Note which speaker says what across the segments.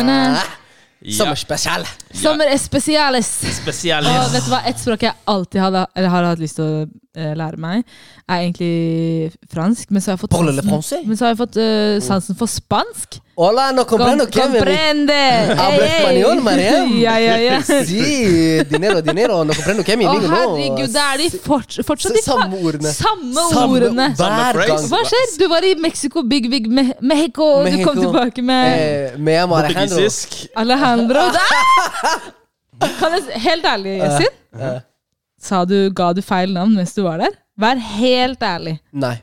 Speaker 1: Ja,
Speaker 2: Sommerspesial.
Speaker 3: Sommer er spesialis. Og vet
Speaker 1: spesialist.
Speaker 3: du hva, Et språk jeg alltid hadde, eller har hatt lyst til å eh, lære meg, er egentlig fransk. Men så har jeg fått,
Speaker 2: Parle le français?
Speaker 3: men så har jeg fått eh, sansen for spansk.
Speaker 2: Hola, no comprendo
Speaker 3: Com-
Speaker 2: que venir.
Speaker 3: Comprende!
Speaker 2: Habla español, Mariam.
Speaker 3: ja, ja, ja.
Speaker 2: Si, dinero, dinero, no comprendo que mi
Speaker 3: Å,
Speaker 2: amigo no.
Speaker 3: herregud, det er de fortsatt, fortsatt de
Speaker 2: S- samme
Speaker 3: fa-
Speaker 2: ordene.
Speaker 3: Samme
Speaker 2: Samme-
Speaker 3: ordene.
Speaker 1: Samme
Speaker 2: Hver
Speaker 1: phrase.
Speaker 2: gang.
Speaker 3: Hva skjer? Du var i Mexico, Big Big Me Mexico, og du kom
Speaker 2: Mexico.
Speaker 3: tilbake med
Speaker 2: Eh, me llamo Alejandro.
Speaker 1: Portugisisk.
Speaker 3: Alejandro. Da- Kan jeg, s- helt ærlig, Yasin?
Speaker 2: eh.
Speaker 3: Sa du, ga du feil navn mens du var der? Vær helt ærlig.
Speaker 2: Nei,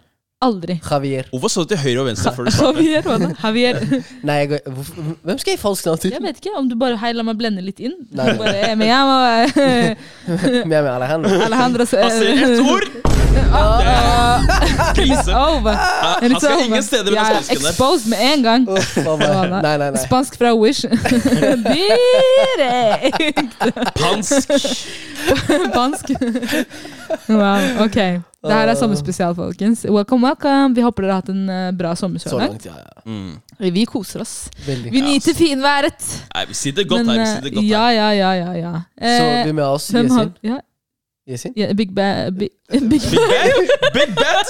Speaker 3: Aldri.
Speaker 2: Javier.
Speaker 1: Hvorfor så du til høyre og venstre før du svarte?
Speaker 3: Javier, hva da? Javier.
Speaker 2: Nei, jeg, hvorfor- hvem skal jeg falske navn til?
Speaker 3: Jeg vet ikke om du bare Hei, la meg blende litt inn. Du
Speaker 2: Nei.
Speaker 3: Bare, eh, men jeg må eh,
Speaker 2: Me llamo Alejandro.
Speaker 3: Alejandro så- eh,
Speaker 1: Passer ett ord! Krise.
Speaker 3: Over.
Speaker 1: Han
Speaker 2: sånn,
Speaker 3: It's
Speaker 1: skal
Speaker 3: over.
Speaker 1: ingen steder med
Speaker 3: Ja, ja,
Speaker 1: den spansken der.
Speaker 3: Exposed med en gang.
Speaker 2: Uff, hva var det? Nei, nei, nei.
Speaker 3: Spansk fra Wish. Direkte.
Speaker 1: Pansk.
Speaker 3: Spansk. Wow, ok. Det her er sommerspesial, folkens. Welcome, welcome. Vi håper dere har hatt en eh, bra sommer så
Speaker 2: Så
Speaker 3: langt.
Speaker 2: langt, ja. ja.
Speaker 1: Mm.
Speaker 3: Vi koser oss.
Speaker 2: Veldig.
Speaker 3: Vi nyter finværet.
Speaker 1: Nei, vi sitter godt
Speaker 3: Men,
Speaker 1: her. Vi
Speaker 3: eh,
Speaker 1: sitter godt
Speaker 3: ja,
Speaker 1: her.
Speaker 3: ja, ja, ja, ja.
Speaker 2: Så
Speaker 3: Eh,
Speaker 2: vi med oss
Speaker 3: hvem har
Speaker 2: Yesin.
Speaker 3: ja,
Speaker 2: Yesin?
Speaker 3: ja, Big Ba... Big, big
Speaker 1: Big Bad!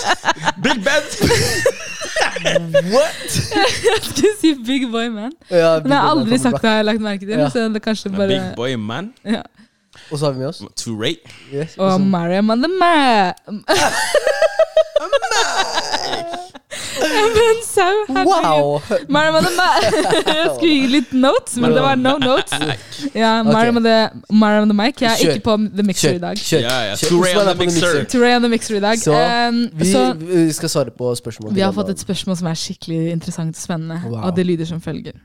Speaker 1: Big Bad! Big Bad!
Speaker 2: What?
Speaker 3: Skulle si Big Boy Man.
Speaker 2: Ja,
Speaker 3: Men jeg har aldri sagt det, har jeg lagt merke til.
Speaker 2: Ja.
Speaker 3: Så det er kanskje bare
Speaker 1: Big Boy Man.
Speaker 3: ja.
Speaker 2: Og så har vi med oss
Speaker 1: Touré.
Speaker 2: yes.
Speaker 3: Og
Speaker 2: og så-
Speaker 3: Mariam on the map. Men sau, herregud.
Speaker 2: Wow!
Speaker 3: Mariam on the map. Jeg skulle gi litt notes, men det var no notes. Ja, Mariam on the, Mariam on the mic. Jeg er
Speaker 2: Kjør.
Speaker 3: ikke på the mixer i dag.
Speaker 2: kjør.
Speaker 1: Ja, ja.
Speaker 2: kjør.
Speaker 1: Touré
Speaker 2: Osman
Speaker 1: on
Speaker 2: er
Speaker 1: the
Speaker 2: på
Speaker 1: mixer.
Speaker 3: Touré on the mixer i dag.
Speaker 2: Så,
Speaker 3: Um,
Speaker 2: Vi,
Speaker 3: så
Speaker 2: vi skal svare på spørsmål.
Speaker 3: vi har fått et spørsmål som er skikkelig interessant og spennende,
Speaker 2: Wow.
Speaker 3: og det lyder som følger.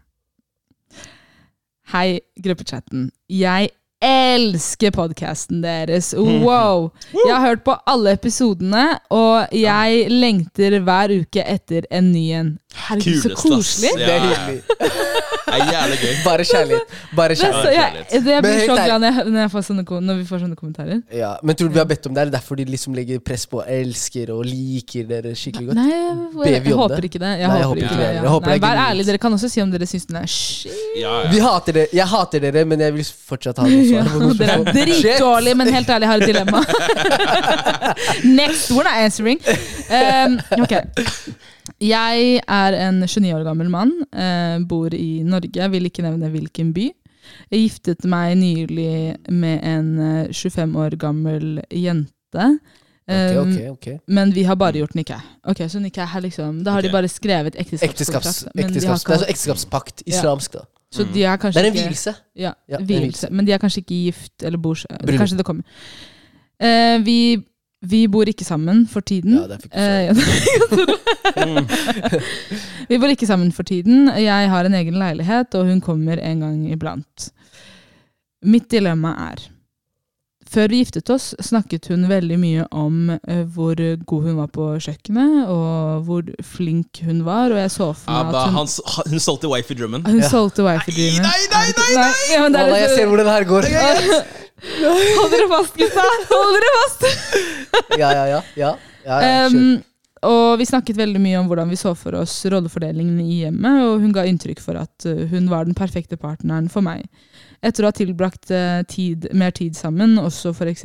Speaker 3: Hei, gruppechatten. Jeg elsker podkasten deres. Wow! Jeg har hørt på alle episodene, og jeg lengter hver uke etter en ny en. Herregud, så
Speaker 1: Kulest, ass.
Speaker 3: koselig!
Speaker 1: Ja,
Speaker 2: Det er
Speaker 1: ja, ja.
Speaker 2: hyggelig.
Speaker 1: Det er jævlig gøy.
Speaker 2: Bare kjærlighet. Bare
Speaker 3: Det, er så,
Speaker 2: kjærlighet.
Speaker 3: jeg, det jeg
Speaker 2: Men
Speaker 3: blir
Speaker 2: helt
Speaker 3: så
Speaker 2: ærlig-
Speaker 3: glad når jeg, når, jeg får sånne, kom- når vi får sånne kommentarer.
Speaker 2: Ja, men tror du vi har bedt om det? Er det derfor de liksom legger press på 'elsker' og 'liker' dere skikkelig godt?
Speaker 3: Nei, jeg, jeg,
Speaker 2: Ber vi om
Speaker 3: håper
Speaker 2: det?
Speaker 3: ikke det. Jeg
Speaker 2: Nei, jeg
Speaker 3: håper
Speaker 2: håper
Speaker 3: ikke
Speaker 1: ikke
Speaker 3: det.
Speaker 2: det.
Speaker 3: ja.
Speaker 2: Jeg håper det
Speaker 3: Nei,
Speaker 2: er
Speaker 3: vær
Speaker 2: genuint.
Speaker 3: ærlig, dere kan også si om dere syns den er shit.
Speaker 1: Ja,
Speaker 2: Vi
Speaker 1: ja.
Speaker 2: hater dere. Jeg hater dere, men jeg vil fortsatt ha noe svar. på noen
Speaker 3: Dere er
Speaker 2: spørsmål.
Speaker 3: dritdårlige, men helt ærlig, jeg har et dilemma. Next, we're not answering. Um, ok. Jeg er en 29 år gammel mann, eh, bor i Norge, vil ikke nevne hvilken by. Jeg giftet meg nylig med en eh, 25 år gammel jente.
Speaker 2: Shit.
Speaker 3: Um,
Speaker 2: Ok, ok, ok.
Speaker 3: Men vi har bare gjort nikkai. Ok, så nikkai er liksom Da har
Speaker 1: Ok.
Speaker 3: de bare skrevet
Speaker 2: Ekteskaps,
Speaker 3: ekteskapskontrakt. men de har
Speaker 2: ekteskaps. Det
Speaker 3: ikke
Speaker 2: er så
Speaker 3: hatt-
Speaker 2: ekteskapspakt. Islamsk, da.
Speaker 3: så de er
Speaker 2: Mm. Det
Speaker 3: kanskje
Speaker 2: er en
Speaker 3: ikke- Mm.
Speaker 2: vielse.
Speaker 3: ja,
Speaker 2: Ja, det er
Speaker 3: vielse.
Speaker 2: vielse.
Speaker 3: Men de er kanskje ikke gift eller bor
Speaker 2: Bryllup.
Speaker 3: Kanskje det kommer. Eh, vi, vi bor ikke sammen for tiden.
Speaker 2: Ja, det fikk du
Speaker 3: Eh, ja, vi bor ikke sammen for tiden. Jeg har en egen leilighet, og hun kommer en gang iblant. Mitt dilemma er Før vi giftet oss, snakket hun veldig mye om eh, hvor god hun var på kjøkkenet, og hvor flink hun var, og jeg så for meg
Speaker 1: Abba,
Speaker 3: at hun,
Speaker 1: han, s- han- hun solgte wifi-drømmen.
Speaker 3: hun solgte wifi-dreamen.
Speaker 1: Nei, nei, nei, nei!
Speaker 3: Ja, men det er
Speaker 2: Wallah, jeg
Speaker 3: liksom-
Speaker 2: ser hvordan det her går.
Speaker 3: Hold dere fast, gutta! Hold dere fast!
Speaker 2: Ja, ja, ja. ja, ja, ja
Speaker 3: Um,
Speaker 2: kjør.
Speaker 3: og vi snakket veldig mye om hvordan vi så for oss rollefordelingen i hjemmet, og hun ga inntrykk for at uh, hun var den perfekte partneren for meg. Etter å ha tilbrakt eh, tid, mer tid sammen, også f.eks.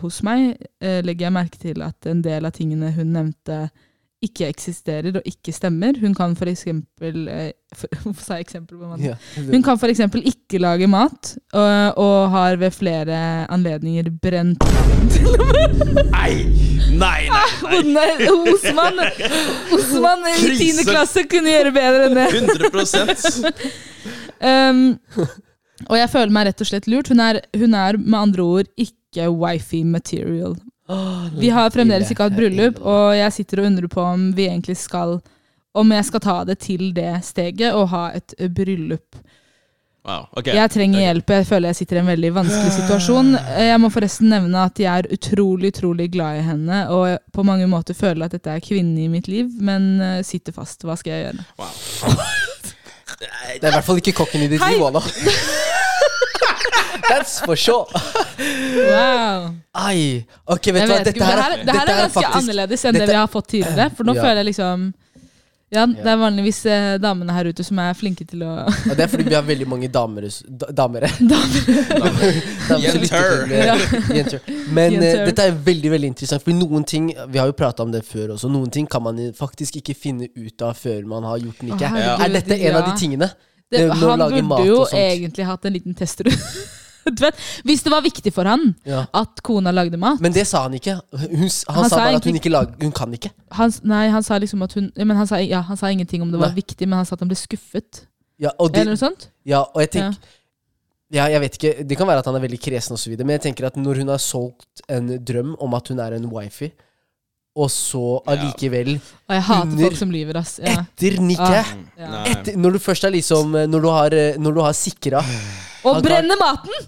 Speaker 3: hos meg, eh, legger jeg merke til at en del av tingene hun nevnte, ikke eksisterer og ikke stemmer. Hun kan f.eks. Hvorfor sa jeg eksempel på mandag?
Speaker 2: Ja.
Speaker 3: Hun kan f.eks. ikke lage mat, og, og har ved flere anledninger brent
Speaker 1: Nei, nei, nei.
Speaker 3: Nei, Osman, Osman i
Speaker 1: Krise.
Speaker 3: tiende klasse kunne gjøre bedre enn det.
Speaker 1: 100
Speaker 3: Um, og jeg føler meg rett og slett lurt. Hun er, hun er med andre ord ikke wifi material. Vi har fremdeles ikke hatt bryllup, og jeg sitter og undrer på om vi egentlig skal om jeg skal ta det til det steget og ha et bryllup.
Speaker 1: Wow, ok.
Speaker 3: Jeg trenger hjelp, og jeg føler jeg sitter i en veldig vanskelig situasjon. Eh, Jeg må forresten nevne at jeg er utrolig, utrolig glad i henne, og på mange måter føler at dette er kvinnen i mitt liv, men eh, sitter fast. Hva skal jeg gjøre?
Speaker 1: Wow.
Speaker 2: Det er i hvert fall ikke kokken i ditt
Speaker 3: Hei.
Speaker 2: liv, Wallah. That's for sure.
Speaker 3: Wow.
Speaker 2: Ai. Ok, vet du
Speaker 3: Jeg
Speaker 2: hva,
Speaker 3: vet ikke,
Speaker 2: dette her, er-
Speaker 3: det
Speaker 2: dette
Speaker 3: her er ganske
Speaker 2: faktisk-
Speaker 3: annerledes enn
Speaker 2: dette-
Speaker 3: det vi har fått tidligere. For nå
Speaker 2: Ja.
Speaker 3: føler jeg liksom Ja, det er vanligvis eh, damene her ute som er flinke til å
Speaker 2: Og det er fordi vi har veldig mange damer hos- da- Damer Damer som lytter
Speaker 1: Jenter.
Speaker 2: til, eh, jenter. Men eh,
Speaker 3: Jenter.
Speaker 2: dette er veldig veldig interessant, for noen ting Vi har jo prata om det før også. Noen ting kan man faktisk ikke finne ut av før man har gjort den
Speaker 3: Å,
Speaker 2: ikke.
Speaker 3: herregud,
Speaker 2: Er dette en av
Speaker 3: ja.
Speaker 2: de tingene?
Speaker 3: det,
Speaker 2: Det med å
Speaker 3: Han
Speaker 2: lage
Speaker 3: burde
Speaker 2: mat
Speaker 3: jo
Speaker 2: og sånt.
Speaker 3: egentlig hatt en liten testrunde. Du vet, Hvis det var viktig for han
Speaker 2: Ja.
Speaker 3: at kona lagde mat
Speaker 2: Men det sa han ikke. Hun, s- han, sa
Speaker 3: Han sa
Speaker 2: bare at hun
Speaker 3: egentlig-
Speaker 2: ikke lag, Hun kan ikke.
Speaker 3: han, Nei, han sa liksom at hun ja, men han, sa, ja, han sa ingenting om det var
Speaker 2: Nei.
Speaker 3: viktig, men han sa at han ble skuffet.
Speaker 2: Ja, og,
Speaker 3: Eller
Speaker 2: det,
Speaker 3: noe sånt.
Speaker 2: ja, og jeg tenker ja, jeg vet ikke, Det kan være at han er veldig kresen, og så videre, men jeg tenker at når hun har solgt en drøm om at hun er en wifi, og så
Speaker 1: Ja.
Speaker 2: allikevel,
Speaker 3: Og jeg hater
Speaker 2: Under-
Speaker 3: folk som lyver, ass. Ja.
Speaker 2: etter nikket
Speaker 3: Ah. Ja.
Speaker 1: Mm. Nei.
Speaker 2: etter, Når du først er sånn- liksom eh, Når du har, eh, når du har sikra
Speaker 3: Og
Speaker 2: Han kan-
Speaker 3: brenne maten!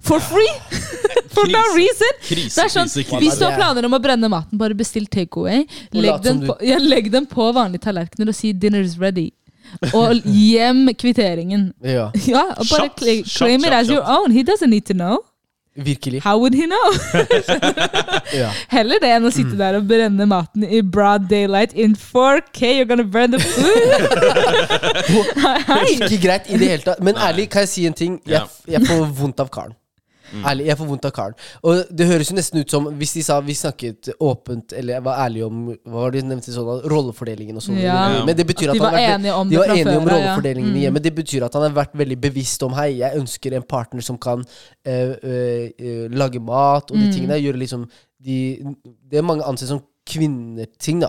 Speaker 3: For free! For no
Speaker 1: Krise.
Speaker 3: reason!
Speaker 1: Krise,
Speaker 3: Det er sånn,
Speaker 1: krise, krise.
Speaker 2: vi
Speaker 3: Hvis du har planer om å brenne maten, bare bestill takeaway.
Speaker 2: Og
Speaker 3: Legg,
Speaker 2: lat
Speaker 3: den
Speaker 2: som du-
Speaker 3: på- ja, legg den på vanlige tallerkener og si 'dinner's ready'. Og hjem kvitteringen.
Speaker 2: Ja,
Speaker 3: Ja, og bare
Speaker 1: Kjapt,
Speaker 3: cla-
Speaker 1: kjapt,
Speaker 3: claim it
Speaker 1: kjapt,
Speaker 3: as your
Speaker 1: kjapt.
Speaker 3: own. He doesn't need to know.
Speaker 2: virkelig.
Speaker 3: How would he know?
Speaker 2: Ja.
Speaker 3: Heller det enn å
Speaker 2: Mm.
Speaker 3: sitte der og brenne maten i broad daylight in 4K. You're gonna burn the food! Hei!
Speaker 2: Ikke greit i det hele tatt. Men ærlig, kan jeg si en ting? Jeg,
Speaker 1: Ja.
Speaker 2: jeg får vondt av karen. Ærlig, jeg får vondt av karen. Og det høres jo nesten ut som hvis de sa vi snakket åpent eller var ærlige om hva var det de nevnte sånn, rollefordelingen og sånn.
Speaker 3: Ja.
Speaker 2: Men det betyr
Speaker 3: At
Speaker 2: at
Speaker 3: de
Speaker 2: han
Speaker 3: var
Speaker 2: har vært
Speaker 3: enige om
Speaker 2: de
Speaker 3: det
Speaker 2: var
Speaker 3: fra
Speaker 2: enige om
Speaker 3: før, ja, Mm. ja.
Speaker 2: rollefordelingen i hjemmet. Det betyr at han har vært veldig bevisst om Hei, jeg ønsker en partner som kan eh, eh, eh, lage mat
Speaker 3: Mm.
Speaker 2: og de tingene. Gjøre liksom de, Det er mange ansett som kvinneting, da.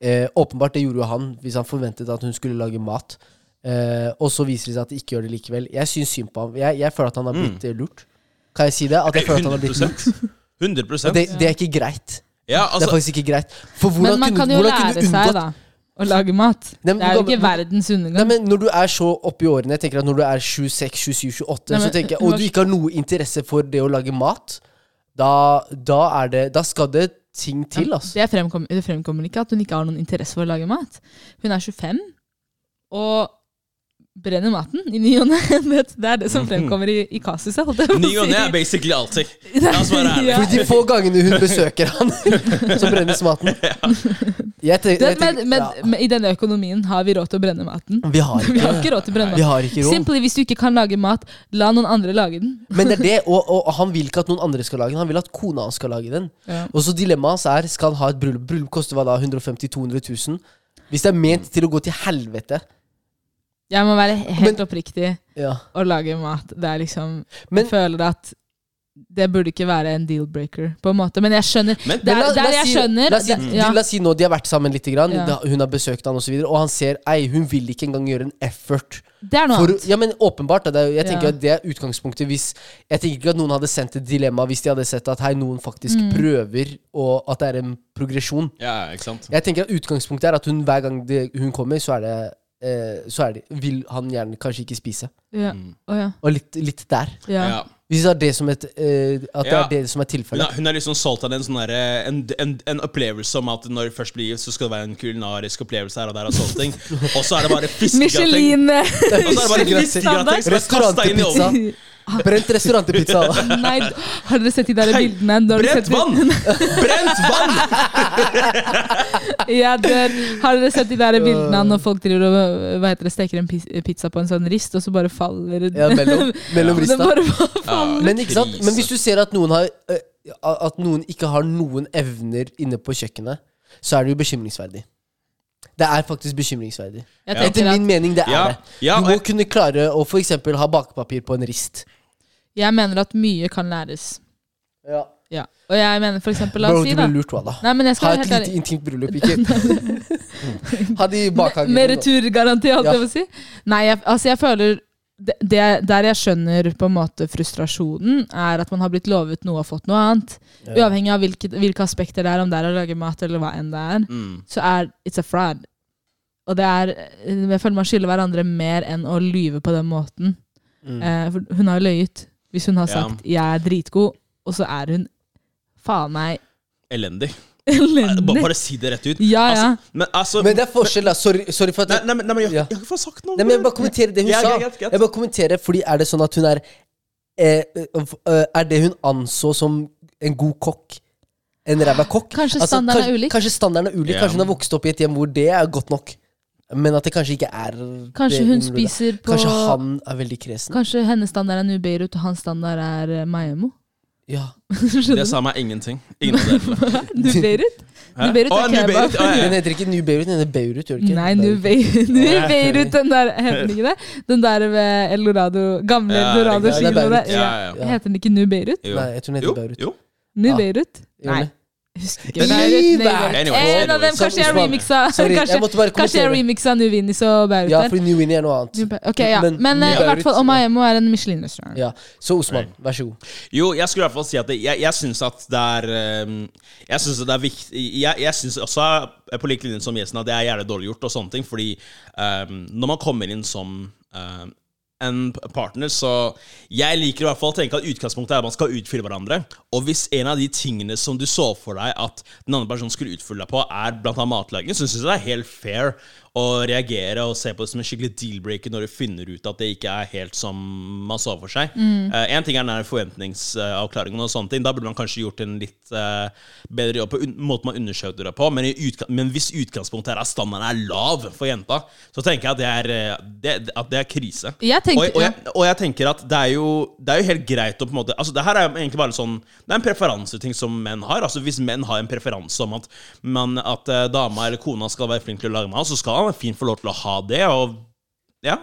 Speaker 2: Eh, åpenbart, det gjorde jo han hvis han forventet at hun skulle lage mat. Eh, og så viser det seg at de ikke gjør det likevel. Jeg syns synd på ham. Jeg, jeg føler at han har blitt eh, lurt. Kan jeg si det? At jeg føler at han har blitt lurt.
Speaker 1: 100 100
Speaker 2: Og det, det er ikke greit.
Speaker 1: Ja,
Speaker 2: Det er
Speaker 1: altså,
Speaker 2: faktisk ikke greit. For
Speaker 3: Men
Speaker 2: hvordan
Speaker 3: man
Speaker 2: kunne,
Speaker 3: kan jo
Speaker 2: hvordan kunne
Speaker 3: lære
Speaker 2: du
Speaker 3: seg,
Speaker 2: unngått
Speaker 3: da. Å lage mat.
Speaker 2: Nei, men
Speaker 3: Det er jo
Speaker 2: du kan-
Speaker 3: ikke verdens
Speaker 2: Nei,
Speaker 3: undergang.
Speaker 2: men Når du er så oppe i årene, jeg tenker at når du er 26-27-28,
Speaker 3: Nei, men-
Speaker 2: så tenker jeg, og du ikke har noe interesse for det å lage mat, da, da, er det, da skal det ting til, altså.
Speaker 3: Det, fremkom, det fremkommer ikke at hun ikke har noen interesse for å lage mat. Hun er 25 og brenner maten i ny og ne. Det det er det som
Speaker 2: Mm.
Speaker 3: fremkommer i, i kasuset. holdt jeg på å
Speaker 1: ny og ne
Speaker 3: si.
Speaker 1: er basically alltid. La oss være ærlige.
Speaker 3: Ja.
Speaker 2: For de få gangene hun besøker han, så brennes maten. Jeg tenk-
Speaker 3: Det,
Speaker 2: jeg
Speaker 3: men,
Speaker 2: tenker,
Speaker 3: men,
Speaker 2: ja,
Speaker 3: men i denne økonomien har vi råd til å brenne maten.
Speaker 2: vi har
Speaker 3: Vi
Speaker 2: ikke,
Speaker 3: har ikke råd til å brenne
Speaker 2: vi
Speaker 3: maten.
Speaker 2: har ikke råd.
Speaker 3: Simply, hvis du ikke kan lage mat, la noen andre lage den.
Speaker 2: Men det er det, og, og han vil ikke at noen andre skal lage den, han vil at kona hans skal lage den.
Speaker 3: Ja.
Speaker 2: Og så dilemmaet hans er, skal han ha et bryllup? Bryllup koster hva da, 150 000-200 000? Hvis det er ment til å gå til helvete.
Speaker 3: Jeg må være helt oppriktig
Speaker 2: Ja.
Speaker 3: og lage mat. Det er liksom
Speaker 2: Men-
Speaker 3: Jeg føler at det burde ikke være en deal-breaker, på en måte. Men jeg skjønner.
Speaker 1: Men-
Speaker 3: det
Speaker 2: Men
Speaker 3: er,
Speaker 2: la-
Speaker 3: det er
Speaker 2: la oss
Speaker 3: jeg
Speaker 2: si-
Speaker 3: skjønner.
Speaker 2: La oss si,
Speaker 3: Det- ja.
Speaker 2: la oss si nå de har vært sammen litt, grann,
Speaker 3: Ja.
Speaker 2: da- hun har besøkt han og så videre, og han ser ei, hun vil ikke engang gjøre en effort.
Speaker 3: Det er noe
Speaker 2: For,
Speaker 3: annet.
Speaker 2: ja, men åpenbart, da, det er, jo- jeg tenker
Speaker 3: Ja.
Speaker 2: at det er utgangspunktet hvis Jeg tenker ikke at noen hadde sendt et dilemma hvis de hadde sett at hei, noen faktisk
Speaker 3: Mm.
Speaker 2: prøver, og at det er en progresjon.
Speaker 1: Ja, ikke sant?
Speaker 2: Jeg tenker at Utgangspunktet er at hun, hver gang det, hun kommer, så er det eh, så er det, vil han gjerne kanskje ikke spise.
Speaker 3: Ja. Å, ja.
Speaker 2: Og litt, litt der.
Speaker 3: Ja.
Speaker 1: Ja.
Speaker 2: Hvis det er det som, et, eh, at det
Speaker 1: Ja.
Speaker 2: er det som er
Speaker 1: Hun
Speaker 2: tilfellet.
Speaker 1: er, hun er liksom solgt av en, sånn derre- en, en, en opplevelse om at når det først blir gift, så skal det være en kulinarisk opplevelse her og der. Og sånne ting Og så er det bare fiskegrateng.
Speaker 3: Michelin
Speaker 1: Og så er det bare fiskegrateng som er kastet inn i
Speaker 2: Restaurantpizza.
Speaker 1: ovnen.
Speaker 2: Brent restaurantpizza. da.
Speaker 3: Nei, d- har dere sett de der
Speaker 1: Hei,
Speaker 3: bildene? når de
Speaker 1: Brent
Speaker 3: setter-
Speaker 1: vann! Brent vann!
Speaker 3: Ja, der, har dere sett de der bildene når folk driver og hva heter det, steker en pis- pizza på en sånn rist, og så bare faller
Speaker 2: Ja, mellom, mellom
Speaker 3: Det
Speaker 2: rista.
Speaker 3: bare fa- faller.
Speaker 2: Men, ikke sant?
Speaker 1: Krise.
Speaker 2: Men hvis du ser at noen, har, eh, at noen ikke har noen evner inne på kjøkkenet, så er det jo bekymringsverdig. Det er faktisk bekymringsverdig.
Speaker 3: Jeg
Speaker 2: Etter
Speaker 3: tenker
Speaker 2: min
Speaker 3: at
Speaker 2: mening, det er
Speaker 1: Ja,
Speaker 2: det.
Speaker 1: ja,
Speaker 2: Du
Speaker 1: og
Speaker 2: må
Speaker 1: jeg-
Speaker 2: kunne klare å for eksempel ha bakepapir på en rist.
Speaker 3: jeg mener at mye kan læres. Ja. Og jeg mener for eksempel, la
Speaker 2: Bro,
Speaker 3: oss si
Speaker 2: du
Speaker 3: da
Speaker 2: blir lurt, Walla.
Speaker 3: Nei, men jeg
Speaker 2: Ha
Speaker 3: skal være
Speaker 2: et
Speaker 3: helt
Speaker 2: lite
Speaker 3: ærlig.
Speaker 2: intimt bryllup, ikke Ha de i bakhagen.
Speaker 3: Med returgaranti, holdt
Speaker 2: Ja.
Speaker 3: jeg på å si. Nei, jeg, altså jeg føler det, det, Der jeg skjønner på en måte frustrasjonen, er at man har blitt lovet noe og fått noe annet. Uavhengig av hvilke, hvilke aspekter det er, om det er å lage mat eller hva enn det
Speaker 2: Mm.
Speaker 3: er,
Speaker 1: Mm.
Speaker 3: så er it's a fraud. Og det er Jeg føler man skylder hverandre mer enn å lyve på den måten.
Speaker 2: Mm.
Speaker 3: Eh, for hun har jo løyet. Hvis hun har
Speaker 1: Ja.
Speaker 3: sagt 'jeg er dritgod', og så er hun faen meg
Speaker 1: Elendig. Bare,
Speaker 3: elendig.
Speaker 1: bare si det rett ut.
Speaker 3: Ja, ja.
Speaker 1: Altså, men altså
Speaker 2: Men det er forskjell, da. Sorry, sorry for at
Speaker 1: Nei, nei, men- nei, men jeg,
Speaker 2: Ja.
Speaker 1: jeg har ikke fått sagt noe.
Speaker 2: Nei, men jeg bare kommenterer det hun
Speaker 1: Ja,
Speaker 2: sa.
Speaker 1: greit, greit.
Speaker 2: Jeg bare kommenterer, fordi er det sånn at hun er eh, eh, er det hun anså som en god kokk, en ræva kokk?
Speaker 3: Kanskje standarden
Speaker 2: kan-
Speaker 3: er ulik?
Speaker 2: Kanskje standarden er ulik
Speaker 1: Ja.
Speaker 2: Kanskje hun har vokst opp i et hjem hvor det er godt nok. Men at det kanskje ikke er det
Speaker 3: Kanskje hun
Speaker 2: området.
Speaker 3: spiser på
Speaker 2: Kanskje han er veldig kresen.
Speaker 3: Kanskje hennes standard er New Beirut, og hans standard er eh, Maemo.
Speaker 2: Ja.
Speaker 1: Det sa meg ingenting. Ingen av delene.
Speaker 4: New Beirut?
Speaker 1: Hæ?
Speaker 4: New Beirut
Speaker 1: Å,
Speaker 4: er
Speaker 1: New
Speaker 4: kebab.
Speaker 1: Beirut, å, ja, ja.
Speaker 2: Den heter ikke New Beirut, den heter Beirut. Gjør den ikke?
Speaker 4: Nei, New Beirut, New Beirut den der heter den ikke det? Den der ved Eldorado, gamle
Speaker 1: Ja,
Speaker 4: Eldorado
Speaker 2: det er
Speaker 4: kino
Speaker 2: Beirut.
Speaker 4: der.
Speaker 1: Ja,
Speaker 4: Ja.
Speaker 1: ja.
Speaker 2: Ja.
Speaker 4: Heter den ikke New Beirut?
Speaker 1: Jo.
Speaker 2: Nei, jeg tror den heter
Speaker 1: Jo,
Speaker 2: Beirut.
Speaker 1: jo.
Speaker 4: New
Speaker 2: Ja.
Speaker 4: Beirut?
Speaker 2: Gjør den
Speaker 4: Nei,
Speaker 2: det?
Speaker 4: husker
Speaker 2: New
Speaker 4: ikke. Beirut, New
Speaker 2: Beirut.
Speaker 4: Beirut.
Speaker 1: Anyways,
Speaker 4: En av dem,
Speaker 1: anyways.
Speaker 4: kanskje jeg
Speaker 2: Sorry,
Speaker 4: remixa
Speaker 2: Sorry,
Speaker 4: Kanskje
Speaker 2: jeg måtte bare
Speaker 4: kanskje jeg
Speaker 2: kommentere.
Speaker 4: remixa New Vinnies og Beirut
Speaker 2: Ja,
Speaker 4: der.
Speaker 2: fordi New Winnie er noe annet.
Speaker 3: Ok, ja.
Speaker 2: Men-
Speaker 3: Men, eh,
Speaker 2: New
Speaker 3: i hvert
Speaker 2: Beirut,
Speaker 3: fall
Speaker 2: ja.
Speaker 3: Omaemo er en Michelin-restaurant.
Speaker 2: Ja. Så Osman, vær så god.
Speaker 1: Jo, jeg skulle i hvert fall si at det, jeg, jeg syns at det er ehm, Jeg syns det er viktig Jeg, jeg syns også, eh, på lik linje som Jesen, at det er jævlig dårlig gjort og sånne ting, fordi ehm, når man kommer inn som ehm, en p- partner, så Jeg liker i hvert fall å tenke at utgangspunktet er at man skal utfylle hverandre. Og hvis en av de tingene som du så for deg at den andre personen skulle utfylle deg på, er blant annet matlaging, så syns jeg det er helt fair å reagere og se på det som en skikkelig deal-breaker når du finner ut at det ikke er helt som man så for seg. Én ting er den her forventningsavklaringen og sånne ting. Da burde man kanskje gjort en litt eh, bedre jobb på un måten man undersøkte det på. Men, i utga men hvis utgangspunktet her er at standarden er lav for jenta, så tenker jeg at det er, eh, det, at det er krise.
Speaker 4: Jeg tenker-
Speaker 1: og, og, jeg, og jeg tenker at det er jo, det er jo helt greit å på en måte Altså Det her er jo egentlig bare sånn Det er en preferanseting som menn har. Altså Hvis menn har en preferanse om at, man, at eh, dama eller kona skal være flink til å lage mat, så skal han fint få lov til å ha det. Og ja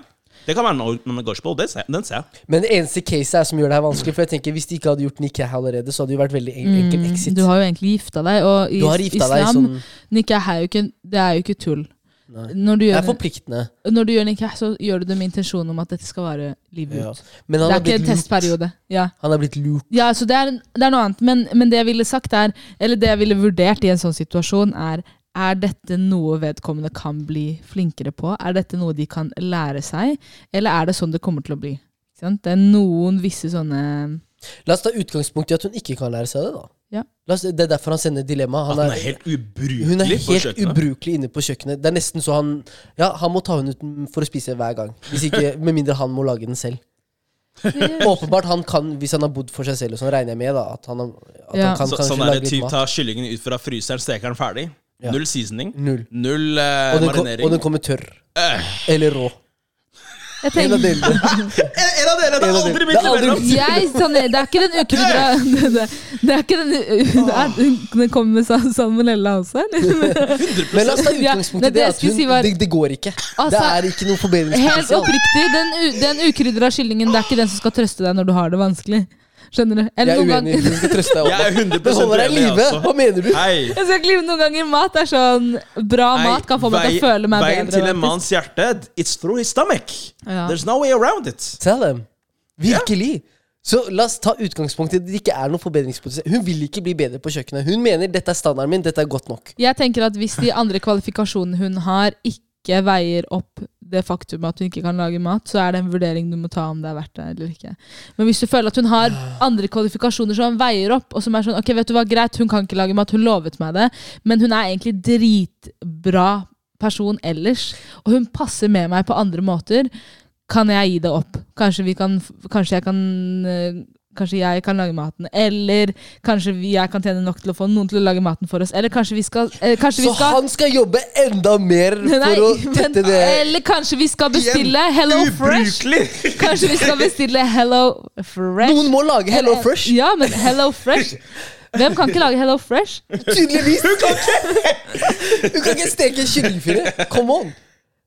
Speaker 1: Det kan være en old man gospel. Det ser, den ser jeg.
Speaker 2: Men det eneste caset er som gjør det her vanskelig, for jeg tenker hvis de ikke hadde gjort Nikah allerede, så hadde det jo vært veldig en enkel exit.
Speaker 3: Mm, Du har jo egentlig gifta deg, og i
Speaker 2: Du har gifta deg
Speaker 3: islam
Speaker 2: sånn-
Speaker 3: Nikah er jo ikke, det er jo ikke tull.
Speaker 2: Nei.
Speaker 3: Når du
Speaker 2: Det er
Speaker 3: gjør,
Speaker 2: forpliktende.
Speaker 3: når du gjør nikah, så gjør du det med intensjon om at dette skal vare livet
Speaker 2: Ja.
Speaker 3: ut.
Speaker 2: Men han
Speaker 3: Det
Speaker 2: har,
Speaker 3: er ikke
Speaker 2: blitt
Speaker 3: en
Speaker 2: lurt.
Speaker 3: testperiode. Ja,
Speaker 2: han har blitt lurt.
Speaker 3: ja så det er, en- det er noe annet. Men, men det jeg ville sagt er, eller det jeg ville vurdert i en sånn situasjon, er er dette noe vedkommende kan bli flinkere på? Er dette noe de kan lære seg? Eller er det sånn det kommer til å bli? Ikke sant? Det er noen visse sånne
Speaker 2: La oss ta utgangspunkt i at hun ikke kan lære seg det, da.
Speaker 3: Ja.
Speaker 2: La oss, det er derfor han sender dilemma.
Speaker 1: At
Speaker 2: Han
Speaker 1: den
Speaker 2: er,
Speaker 1: er helt ubrukelig
Speaker 2: hun er
Speaker 1: på
Speaker 2: helt
Speaker 1: kjøkkenet.
Speaker 2: ubrukelig inne på kjøkkenet. Det er nesten så han Ja, han må ta henne ut for å spise hver gang. Hvis ikke, Med mindre han må lage den selv. Åpenbart han kan, hvis han har bodd for seg selv, og sånn regner jeg med da at han, har- at
Speaker 3: Ja.
Speaker 2: han kan
Speaker 1: Så,
Speaker 2: kanskje
Speaker 1: sånn er
Speaker 2: lage
Speaker 1: det
Speaker 2: litt
Speaker 1: typ
Speaker 2: mat.
Speaker 1: ta kyllingen ut fra fryseren, steker den ferdig.
Speaker 2: Ja.
Speaker 1: Null seasoning.
Speaker 2: Null.
Speaker 1: Null eh,
Speaker 2: Og den, kom, og
Speaker 1: marinering.
Speaker 2: den kommer tørr. Eller rå.
Speaker 3: Jeg
Speaker 2: En
Speaker 3: tenker-
Speaker 2: av delene.
Speaker 1: En, en av dere!
Speaker 2: En av
Speaker 1: Det er
Speaker 2: dere.
Speaker 1: aldri
Speaker 2: Det
Speaker 1: mitt
Speaker 2: er aldri-
Speaker 1: imellom!
Speaker 3: Jeg, sånn, det er ikke den ukrydra det, det, det er ikke den det er, Den kommer med sa- salmonella også? eller?
Speaker 1: 100%
Speaker 2: Men la oss ta
Speaker 3: Ja,
Speaker 2: utgangspunkt i
Speaker 3: det
Speaker 2: det
Speaker 3: jeg
Speaker 2: at
Speaker 3: skulle
Speaker 2: hun,
Speaker 3: si var-
Speaker 2: det, det går ikke. Det
Speaker 3: Altså,
Speaker 2: er ikke noe
Speaker 3: Helt
Speaker 2: forbedringspotensial.
Speaker 3: oppriktig, den, u- den ukrydra kyllingen Det er ikke den som skal trøste deg når du har det vanskelig. Skjønner du?
Speaker 2: Jeg
Speaker 3: Eller
Speaker 2: er
Speaker 3: noen
Speaker 2: uenig.
Speaker 3: ganger
Speaker 2: Du skal trøste deg.
Speaker 1: Jeg er
Speaker 2: Oda.
Speaker 1: 100
Speaker 2: Det holder deg i
Speaker 1: uenig,
Speaker 2: live.
Speaker 1: altså.
Speaker 2: Hva mener du?
Speaker 1: Hei.
Speaker 3: jeg skal ikke lyve, noen ganger mat er sånn Bra mat kan få meg til å føle meg
Speaker 1: veien
Speaker 3: bedre.
Speaker 1: til en
Speaker 3: faktisk.
Speaker 1: manns hjerte It's through his stomach.
Speaker 3: Ja.
Speaker 1: There's no way around it.
Speaker 2: Tell them. Virkelig. Så la oss ta utgangspunkt i at det ikke er noe forbedringspotensial. Hun vil ikke bli bedre på kjøkkenet. Hun mener dette er standarden min, dette er godt nok.
Speaker 3: Jeg tenker at hvis de andre kvalifikasjonene hun har, ikke veier opp det faktum at hun ikke kan lage mat, så er det en vurdering du må ta om det er verdt det eller ikke. Men hvis du føler at hun har andre kvalifikasjoner som veier opp, og som er sånn Ok, vet du hva, greit, hun kan ikke lage mat, hun lovet meg det, men hun er egentlig dritbra person ellers, og hun passer med meg på andre måter, kan jeg gi det opp? Kanskje vi kan Kanskje jeg kan øh, Kanskje jeg kan lage maten, eller kanskje vi, jeg kan tjene nok til å få noen til å lage maten for oss. Eller kanskje vi skal, eh, kanskje
Speaker 2: Så
Speaker 3: vi skal
Speaker 2: han skal jobbe enda mer
Speaker 3: Nei,
Speaker 2: for å
Speaker 3: men-
Speaker 2: tette det
Speaker 3: Eller kanskje vi skal bestille Hello Fresh? Kanskje vi skal bestille Hello Fresh?
Speaker 2: Noen må lage Hello
Speaker 3: Eller-
Speaker 2: Fresh!
Speaker 3: Eh, Ja, men Hello Fresh Hvem kan ikke lage Hello Fresh?
Speaker 2: Tydeligvis! Hun kan ikke, hun kan ikke steke kyllingfilet! Come on!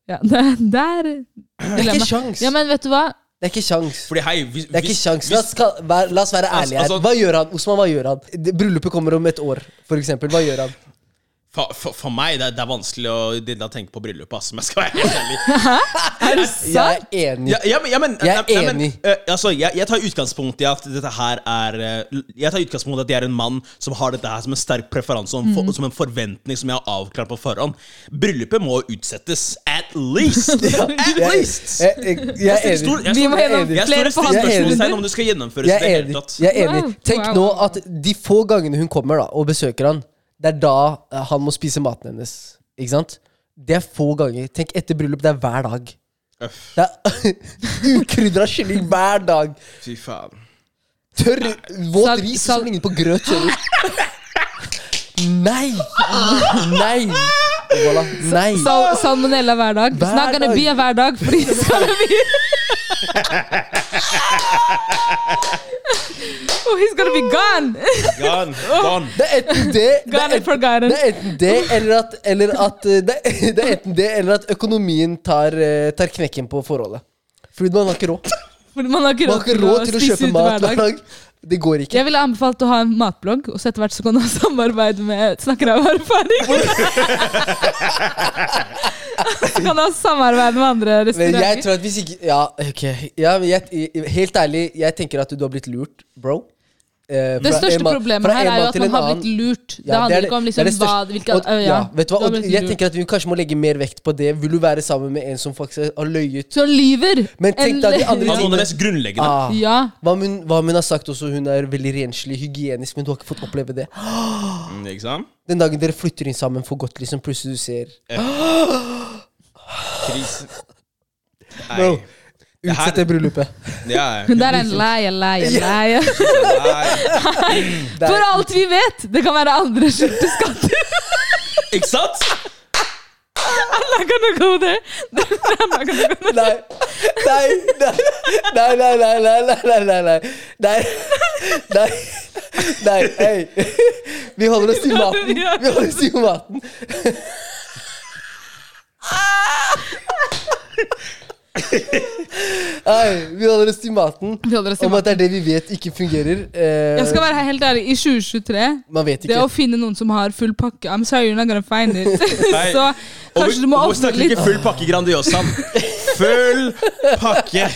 Speaker 3: Ja, det, det er
Speaker 2: Det er ikke sjans.
Speaker 3: Ja, men vet du hva?
Speaker 2: Det er ikke sjans.
Speaker 1: Fordi hei, hvis,
Speaker 2: Det er ikke
Speaker 1: hvis-
Speaker 2: sjans. La
Speaker 1: hvis-
Speaker 2: oss, ka- vær- la oss være ærlige her.
Speaker 1: Altså-
Speaker 2: Hva gjør han? Osman, hva gjør han? Det- Bryllupet kommer om et år, for eksempel. Hva gjør han?
Speaker 1: for, for, for meg det er det er vanskelig å det er å tenke på bryllup, ass. Men jeg skal være helt ærlig.
Speaker 2: Jeg er enig.
Speaker 1: Ja, ja, men, ja, men,
Speaker 2: Jeg er
Speaker 1: nei, nei, men,
Speaker 2: enig.
Speaker 1: eh, altså, jeg, jeg tar utgangspunkt i at dette her er eh, Jeg tar utgangspunkt i at jeg er en mann som har dette her som en sterk preferanse, som,
Speaker 3: Mhm.
Speaker 1: for, som en forventning som jeg har avklart på forhånd. Bryllupet må utsettes. At least! At
Speaker 2: Jeg,
Speaker 1: least!
Speaker 2: jeg, jeg, jeg er
Speaker 1: Jeg stiller stor-
Speaker 2: enig.
Speaker 3: Vi
Speaker 1: jeg stiller-
Speaker 3: må gjennom
Speaker 1: jeg
Speaker 3: flere
Speaker 1: stiller
Speaker 2: forhandlinger.
Speaker 1: spørsmålstegn om det skal gjennomføres. i
Speaker 2: Jeg
Speaker 1: det
Speaker 2: er
Speaker 1: hele
Speaker 2: enig.
Speaker 1: tatt.
Speaker 2: Jeg er enig.
Speaker 3: Wow.
Speaker 2: Tenk
Speaker 3: Wow.
Speaker 2: nå at de få gangene hun kommer da og besøker han, det er da eh, han må spise maten hennes. Ikke sant? Det er få ganger. Tenk etter bryllup, det er hver dag.
Speaker 1: Øff,
Speaker 2: Det er ukrydra kylling hver dag.
Speaker 1: Fy faen.
Speaker 2: Tørr, våt
Speaker 3: Sal-
Speaker 2: ris
Speaker 3: sal-
Speaker 2: som ligner på grøt. kjører du. Nei! Nei! Voilà. Nei.
Speaker 3: Sal salmonella hver dag.
Speaker 2: Hver
Speaker 3: Hver Snakk
Speaker 2: dag.
Speaker 3: bia hver dag, fordi det skal bli Oh, he's gonna be gone!
Speaker 1: Gone, gone.
Speaker 2: Det er enten det det
Speaker 3: Gone
Speaker 2: er,
Speaker 3: and forgotten.
Speaker 2: det er enten det, eller at, eller at eh, det, er- det er enten det, eller at økonomien tar, eh, tar knekken på forholdet. Fordi man har ikke råd.
Speaker 3: Fordi man har ikke
Speaker 2: Man har ikke råd til å
Speaker 3: spise
Speaker 2: kjøpe
Speaker 3: ute
Speaker 2: mat hver dag. Det går ikke.
Speaker 3: Jeg ville anbefalt å ha en matblogg, og så etter hvert så kan du ha samarbeid med Snakker av erfaring. så kan du ha samarbeid med andre
Speaker 2: Men jeg
Speaker 3: restauranter.
Speaker 2: tror at hvis ikke Ja, ok. Ja, men jeg, helt ærlig, jeg tenker at du har blitt lurt, bro. Eh,
Speaker 3: Det
Speaker 2: fra en
Speaker 3: største
Speaker 2: mann-
Speaker 3: problemet
Speaker 2: fra
Speaker 3: her
Speaker 2: en
Speaker 3: er jo
Speaker 2: mann
Speaker 3: at
Speaker 2: til
Speaker 3: man
Speaker 2: en
Speaker 3: har
Speaker 2: annen.
Speaker 3: blitt lurt.
Speaker 2: Ja,
Speaker 3: Det handler
Speaker 2: er
Speaker 3: ikke om
Speaker 2: det er det
Speaker 3: liksom hva
Speaker 2: største-
Speaker 3: hvilke,
Speaker 2: og, ja,
Speaker 3: ja,
Speaker 2: vet du hva?
Speaker 3: du har
Speaker 2: Og
Speaker 3: blitt
Speaker 2: jeg
Speaker 3: lurt.
Speaker 2: tenker at vi kanskje må legge mer vekt på det. Vil du være sammen med en som faktisk har løyet?
Speaker 3: Så han lyver!
Speaker 2: Men tenk deg at de andre
Speaker 1: Det var noe av det
Speaker 2: tingene
Speaker 1: mest grunnleggende.
Speaker 2: ah,
Speaker 3: Ja.
Speaker 2: hva, om hun, hva om hun har sagt også? Hun er veldig renslig, hygienisk, men du har ikke fått oppleve det.
Speaker 1: Mm, Ikke sant?
Speaker 2: Den dagen dere flytter inn sammen for godt, liksom, plutselig du ser
Speaker 1: Krise.
Speaker 2: Bro,
Speaker 1: Nei. Det her-
Speaker 2: Utsett det bryllupet.
Speaker 1: Ja,
Speaker 3: Hun der er en leie, leie, leie.
Speaker 1: nei.
Speaker 2: Det
Speaker 3: For
Speaker 2: er,
Speaker 3: alt vi vet! Det kan være andre skjulte skatter.
Speaker 1: Ikke sant?
Speaker 3: I'm not gonna go there. I'm not gonna go there.
Speaker 2: nei, nei, nei, nei, nei, nei, nei, nei, nei, nei, nei, nei, nei, nei, hei. Vi holder oss til maten. Vi holder oss til maten. Nei, vi holder oss til maten.
Speaker 3: Vi holder oss til
Speaker 2: Om at det er det vi vet ikke fungerer. Eh,
Speaker 3: Jeg skal være helt ærlig, i 2023
Speaker 2: man vet
Speaker 3: det
Speaker 2: ikke.
Speaker 3: å finne noen som har full pakke I'm sorry, you're not gonna find it.
Speaker 1: Nei.
Speaker 3: Så
Speaker 1: Og
Speaker 3: kanskje
Speaker 1: vi-
Speaker 3: du må
Speaker 1: og vi
Speaker 3: ofre
Speaker 1: snakker
Speaker 3: litt.
Speaker 1: ikke full pakke Grandiosaen. Full pakke.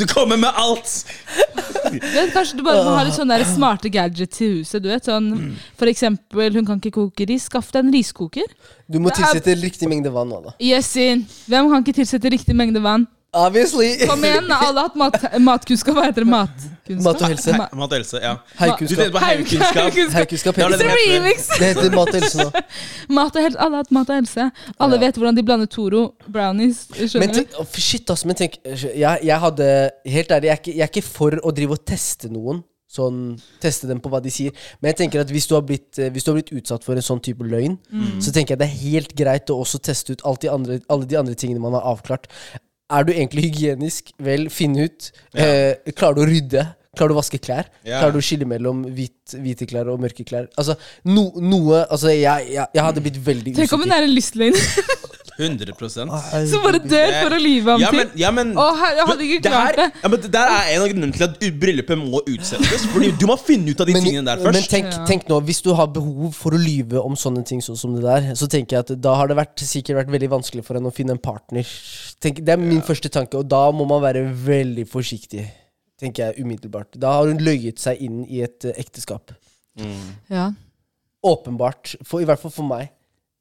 Speaker 1: Du kommer med alt.
Speaker 3: Men Kanskje du bare må ha
Speaker 1: Ah.
Speaker 3: litt sånne der smarte gadgets i huset. du vet sånn, For eksempel, hun kan ikke koke ris. Skaff deg en riskoker.
Speaker 2: Du må
Speaker 3: det er-
Speaker 2: tilsette riktig mengde vann nå, da.
Speaker 3: Yes in. Hvem kan ikke tilsette riktig mengde vann?
Speaker 2: Obviously.
Speaker 3: Kom igjen, da, alle har hatt mat, matkunnskap. Hva heter det? Matkunnskap?
Speaker 2: Mat og helse.
Speaker 3: Ma-
Speaker 1: Mat og helse, ja. Du
Speaker 2: Heikuskap.
Speaker 1: tenkte på heimkunnskap.
Speaker 2: Heikuskap.
Speaker 1: Ja, det
Speaker 3: It's
Speaker 1: er
Speaker 3: a remix!
Speaker 2: Det heter mat og helse nå.
Speaker 3: Mat og helse. Alle har hatt mat og helse. Alle
Speaker 2: Ja.
Speaker 3: vet hvordan de blander Toro, brownies.
Speaker 2: Men
Speaker 3: Skjønner du?
Speaker 2: tenk, å, for shit, ass, men tenk jeg, jeg hadde Helt ærlig, jeg er, ikke, jeg er ikke for å drive og teste noen. Sånn, Teste dem på hva de sier. Men jeg tenker at hvis du har blitt, eh, hvis du har blitt utsatt for en sånn type løgn,
Speaker 3: Mm.
Speaker 2: så tenker jeg det er helt greit å også teste ut alt de andre, alle de andre tingene man har avklart. Er du egentlig hygienisk? Vel, finn ut. Eh, klarer du å rydde? Klarer du å vaske klær?
Speaker 1: Ja.
Speaker 2: Klarer du å skille mellom hvit, hvite klær og mørke klær? Altså, no, noe Altså, jeg, jeg, jeg hadde blitt veldig
Speaker 3: Tenk om hun er en lystløgner
Speaker 1: 100
Speaker 3: som bare dør for å lyve om
Speaker 1: ja, men,
Speaker 3: ting.
Speaker 1: ja, men,
Speaker 3: Å, herre, jeg hadde ikke
Speaker 1: det her-
Speaker 3: klart det.
Speaker 1: Ja, men det der er en av grunnene til at bryllupet må utsettes. Fordi du må finne ut av de tingene der først.
Speaker 2: Men tenk,
Speaker 3: Ja.
Speaker 2: tenk nå, hvis du har behov for å lyve om sånne ting sånn som det der, så tenker jeg at da har det vært, sikkert vært veldig vanskelig for henne å finne en partner. Tenk, det er min første tanke, og da må man være veldig forsiktig. Tenker jeg umiddelbart. Da har hun løyet seg inn i et eh, ekteskap.
Speaker 1: Mm,
Speaker 3: Ja.
Speaker 2: Åpenbart. For, I hvert fall for meg.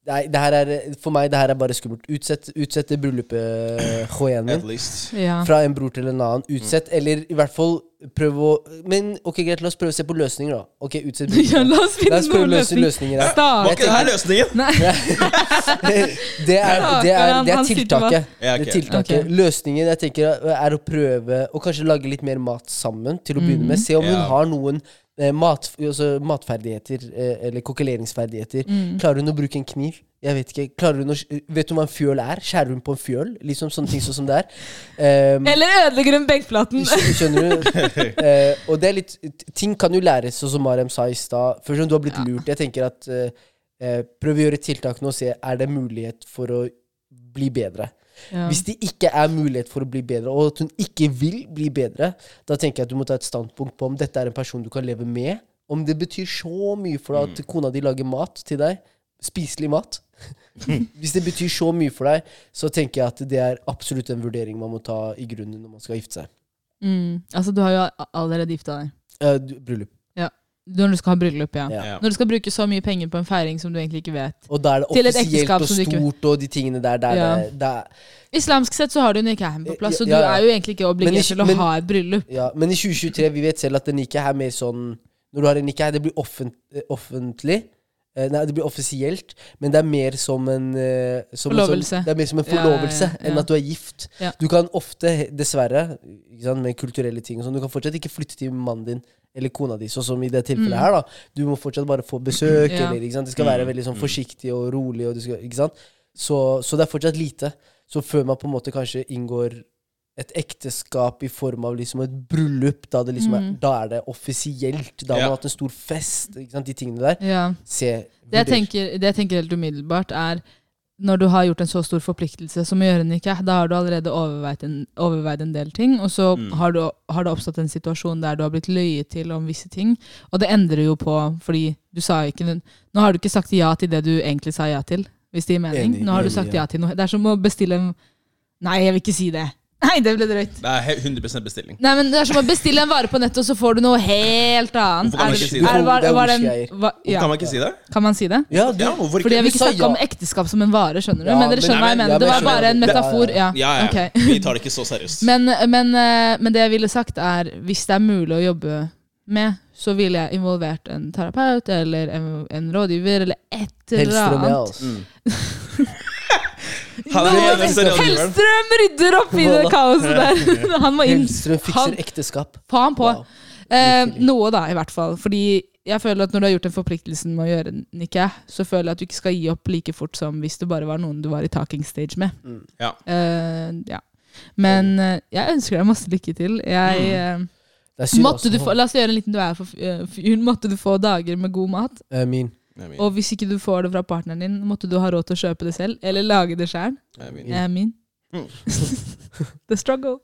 Speaker 2: Nei, det her er, for meg det her er bare skummelt. Utsett, utsett det bryllupet, Hoien min.
Speaker 1: At least.
Speaker 3: ja.
Speaker 2: Fra en bror til en annen.
Speaker 1: Mm.
Speaker 2: Utsett, eller i hvert fall prøv å Men ok, greit, la oss prøve å se på løsninger, da. Ok, utsett
Speaker 3: Ja,
Speaker 2: bryllupet.
Speaker 3: la oss finne
Speaker 2: La oss prøve
Speaker 3: noen
Speaker 2: å løse
Speaker 3: løsning.
Speaker 2: løsninger her.
Speaker 1: Var
Speaker 3: Start.
Speaker 1: ikke det her løsningen?
Speaker 3: Nei.
Speaker 2: Det er, det er, det er tiltaket. Det
Speaker 1: Ja, ok.
Speaker 2: er tiltaket. Løsningen jeg tenker er å prøve å kanskje lage litt mer mat sammen til å begynne med. Se om hun
Speaker 1: Ja.
Speaker 2: har noen eh, mat, altså matferdigheter eh, eller kokkeleringsferdigheter. Klarer hun å bruke en kniv? Jeg Vet ikke. Klarer hun å, vet hun hva en fjøl er? Skjærer hun på en fjøl? Liksom Sånne ting sånn som det er. Ehm,
Speaker 3: Eller ødelegger hun benkplaten.
Speaker 2: Skj- Skjønner du? Eh, og det er litt Ting kan jo læres, sånn som Mariam sa i stad. Først om du har blitt lurt. Jeg tenker at eh, eh, Prøv å gjøre tiltak nå og se er det mulighet for å bli bedre.
Speaker 3: Ja.
Speaker 2: Hvis det ikke er mulighet for å bli bedre, og at hun ikke vil bli bedre, da tenker jeg at du må ta et standpunkt på om dette er en person du kan leve med. Om det betyr så mye for deg at kona di lager mat til deg, spiselig mat. Hvis det betyr så mye for deg, så tenker jeg at det er absolutt en vurdering man må ta i grunnen når man skal gifte seg.
Speaker 3: Mm. Altså, du har jo a- allerede gifta deg.
Speaker 2: Eh, du- bryllup.
Speaker 3: Når du skal ha bryllup, ja.
Speaker 2: Ja.
Speaker 1: Ja.
Speaker 3: Når du skal bruke så mye penger på en feiring som du egentlig ikke vet.
Speaker 2: Og da er det
Speaker 3: Til et
Speaker 2: offisielt
Speaker 3: ekteskap
Speaker 2: og
Speaker 3: som du ikke-
Speaker 2: stort og de tingene der. der,
Speaker 3: Ja.
Speaker 2: der, der.
Speaker 3: Islamsk sett så har du en niqab på plass, så du
Speaker 2: Ja, ja.
Speaker 3: er jo egentlig ikke
Speaker 2: Men
Speaker 3: obligert
Speaker 2: ikke-
Speaker 3: til å
Speaker 2: men-
Speaker 3: ha et bryllup.
Speaker 2: Ja, men i 2023, vi vet selv at en nikah er mer sånn Når du har en nikah, det blir offent, eh, offentlig. eh, Nei, det blir offisielt, men det er mer som en eh, som,
Speaker 3: Forlovelse.
Speaker 2: Som, det er mer som en
Speaker 3: Ja, ja,
Speaker 2: forlovelse
Speaker 3: ja.
Speaker 2: enn at du er gift.
Speaker 3: Ja.
Speaker 2: Du kan ofte, he- dessverre, ikke sant, med kulturelle ting og sånn, du kan fortsatt ikke flytte til mannen din eller kona di, sånn som i det tilfellet
Speaker 3: Mm.
Speaker 2: her. da Du må fortsatt bare få besøk,
Speaker 3: Ja.
Speaker 2: eller ikke sant. Det skal
Speaker 1: Mm,
Speaker 2: være veldig sånn
Speaker 1: mm.
Speaker 2: forsiktig og rolig, og du skal, ikke sant. Så, så det er fortsatt lite. Så før man på en måte kanskje inngår et ekteskap i form av liksom et bryllup, da, det liksom er,
Speaker 3: Mm.
Speaker 2: da er det offisielt. Da har
Speaker 1: Ja.
Speaker 2: man hatt en stor fest. Ikke sant? De tingene der.
Speaker 3: Ja.
Speaker 2: Se,
Speaker 3: Det jeg,
Speaker 2: vurder.
Speaker 3: tenker, det jeg tenker helt umiddelbart, er når du har gjort en så stor forpliktelse som å gjøre en nikah, da har du allerede overveid en, overveid en del ting, og så
Speaker 1: Mm.
Speaker 3: har, du, har det oppstått en situasjon der du har blitt løyet til om visse ting, og det endrer jo på, fordi du sa jo ikke Nå har du ikke sagt ja til det du egentlig sa ja til, hvis det gir mening.
Speaker 2: Enig,
Speaker 3: Nå har du
Speaker 2: enig,
Speaker 3: sagt
Speaker 2: ja.
Speaker 3: ja til noe. Det er som å bestille en Nei, jeg vil ikke si det. Nei, det ble drøyt.
Speaker 1: Det er he- 100 bestilling.
Speaker 3: Nei, men Det er som å bestille en vare på nettet, og så får du noe helt annet.
Speaker 1: Hvorfor kan man
Speaker 3: det-
Speaker 1: ikke si det?
Speaker 3: Er, var,
Speaker 2: Det er
Speaker 3: var den,
Speaker 2: ordsgreier.
Speaker 3: hva- ja.
Speaker 1: Kan man ikke si det?
Speaker 3: Kan man si det?
Speaker 2: Ja, du,
Speaker 1: Ja,
Speaker 3: Fordi
Speaker 1: hvorfor ikke?
Speaker 3: jeg vil ikke
Speaker 2: Vi sa
Speaker 3: snakke om
Speaker 2: ja.
Speaker 3: ekteskap som en vare, skjønner du.
Speaker 2: Ja,
Speaker 3: men dere skjønner
Speaker 1: men-
Speaker 3: hva jeg
Speaker 1: Nei,
Speaker 3: mener.
Speaker 2: men-
Speaker 3: det
Speaker 2: ja, men jeg
Speaker 3: var bare en
Speaker 2: skjønner.
Speaker 3: metafor. Ja,
Speaker 1: Ja, ja.
Speaker 3: ok.
Speaker 1: Vi tar det ikke så seriøst.
Speaker 3: Men, men, eh, men det jeg ville sagt, er hvis det er mulig å jobbe med, så ville jeg involvert en terapeut eller en, en rådgiver eller et eller
Speaker 2: Hellstrøm, ja.
Speaker 3: annet.
Speaker 1: Mm.
Speaker 2: Altså.
Speaker 1: Han er den eneste rådgiveren.
Speaker 3: Hellstrøm rydder opp i det
Speaker 2: Voilà.
Speaker 3: kaoset der! Han må inn.
Speaker 2: Hellstrøm
Speaker 3: Han-
Speaker 2: fikser ekteskap.
Speaker 3: Faen på.
Speaker 2: Wow.
Speaker 3: Eh,
Speaker 2: Virkelig.
Speaker 3: noe, da, i hvert fall. Fordi jeg føler at når du har gjort den forpliktelsen med å gjøre en nikah, så føler jeg at du ikke skal gi opp like fort som hvis det bare var noen du var i talking stage med.
Speaker 2: Mm.
Speaker 1: Ja.
Speaker 3: Eh, ja. Men eh, jeg ønsker deg masse lykke til. Jeg, eh,
Speaker 2: Det er synd,
Speaker 3: måtte du
Speaker 2: altså.
Speaker 3: få, la oss gjøre en liten du er for eh, fyren. Måtte du få dager med god mat.
Speaker 2: Eh, Min.
Speaker 1: Jeg er min.
Speaker 3: Og hvis ikke du får det fra partneren din, måtte du ha råd til å kjøpe det selv. Eller lage det sjøl.
Speaker 1: Jeg er min.
Speaker 3: Jeg er min.
Speaker 1: Mm.
Speaker 3: The struggle.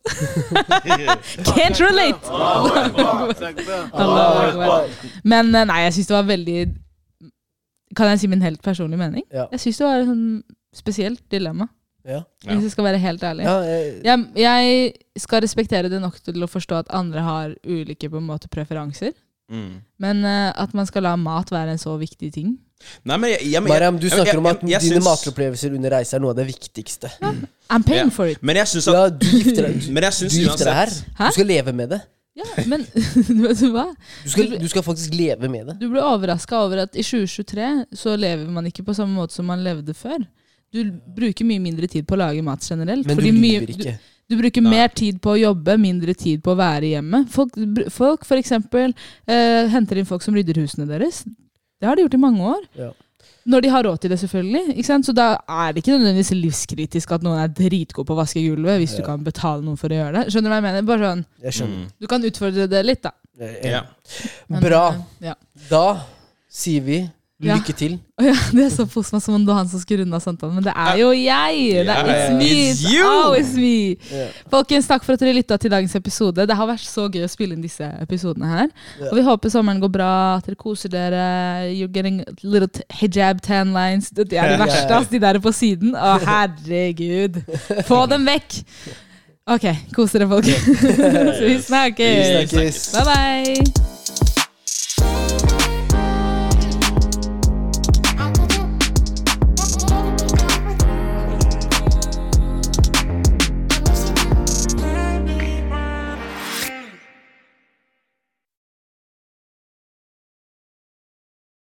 Speaker 3: Can't relate! Allah akbar. Men eh, nei, jeg syns det var veldig Kan jeg si min helt personlige mening?
Speaker 2: Ja.
Speaker 3: Jeg syns det var et sånn spesielt dilemma,
Speaker 2: Ja.
Speaker 1: Ja.
Speaker 3: hvis jeg skal være helt ærlig.
Speaker 2: Ja, eh,
Speaker 3: Jeg, jeg skal respektere det nok til å forstå at andre har ulike på en måte, preferanser.
Speaker 1: Mm.
Speaker 3: Men eh, at man skal la mat være en så viktig ting.
Speaker 1: Nei, men jeg, jeg, jeg,
Speaker 2: Mariam, du
Speaker 1: jeg-
Speaker 2: snakker
Speaker 1: jeg-
Speaker 2: om at
Speaker 1: jeg- jeg
Speaker 2: dine
Speaker 1: syns-
Speaker 2: matopplevelser under reise er noe av det viktigste.
Speaker 3: I'm paying
Speaker 1: Ja.
Speaker 3: for it!
Speaker 1: Men jeg syns at
Speaker 2: Ja, du gifter deg,
Speaker 1: Men jeg
Speaker 2: du
Speaker 1: syns
Speaker 2: gifter deg her.
Speaker 1: uansett
Speaker 3: Hæ?
Speaker 2: Du skal leve med det.
Speaker 3: Ja, men vet du hva?
Speaker 2: Du skal, du skal faktisk leve med det.
Speaker 3: Du ble overraska over at i 2023 så lever man ikke på samme måte som man levde før. Du l- bruker mye mindre tid på å lage mat generelt.
Speaker 2: Men du
Speaker 3: fordi mye-
Speaker 2: lyver ikke.
Speaker 3: Du bruker
Speaker 1: Nei.
Speaker 3: mer tid på å jobbe, mindre tid på å være hjemme. Folk, br- folk for eksempel, eh, henter inn folk som rydder husene deres. Det har de gjort i mange år.
Speaker 2: Ja.
Speaker 3: Når de har råd til det, selvfølgelig. Ikke sant? Så da er det ikke nødvendigvis livskritisk at noen er dritgod på å vaske gulvet, hvis du
Speaker 2: Ja.
Speaker 3: kan betale noen for å gjøre det. Skjønner du hva jeg mener? Bare sånn,
Speaker 2: Jeg skjønner.
Speaker 1: Mm.
Speaker 3: Du kan utfordre det litt, da.
Speaker 2: Eh,
Speaker 1: Ja.
Speaker 3: Men,
Speaker 2: Bra.
Speaker 3: eh, Ja.
Speaker 2: Da sier vi
Speaker 3: Ja.
Speaker 2: lykke til.
Speaker 3: Å ja, det er så på meg som om det var han som skulle runde av samtalen, men det er jo jeg! Det
Speaker 1: Ja,
Speaker 3: er, it's
Speaker 1: ja.
Speaker 3: me!
Speaker 1: It's
Speaker 3: It's
Speaker 1: you!
Speaker 3: always me!
Speaker 2: Ja.
Speaker 3: Folkens, takk for at dere lytta til dagens episode. Det har vært så gøy å spille inn disse episodene her.
Speaker 2: Ja.
Speaker 3: Og vi håper sommeren går bra, at dere koser dere. You're getting little t- hijab tan lines. Det det er det verste, ass, de der på siden. Å, herregud! Få dem vekk! OK, kos dere, folk. Så vi snakkes.
Speaker 1: Vi
Speaker 2: snakkes.
Speaker 3: Bye, bye.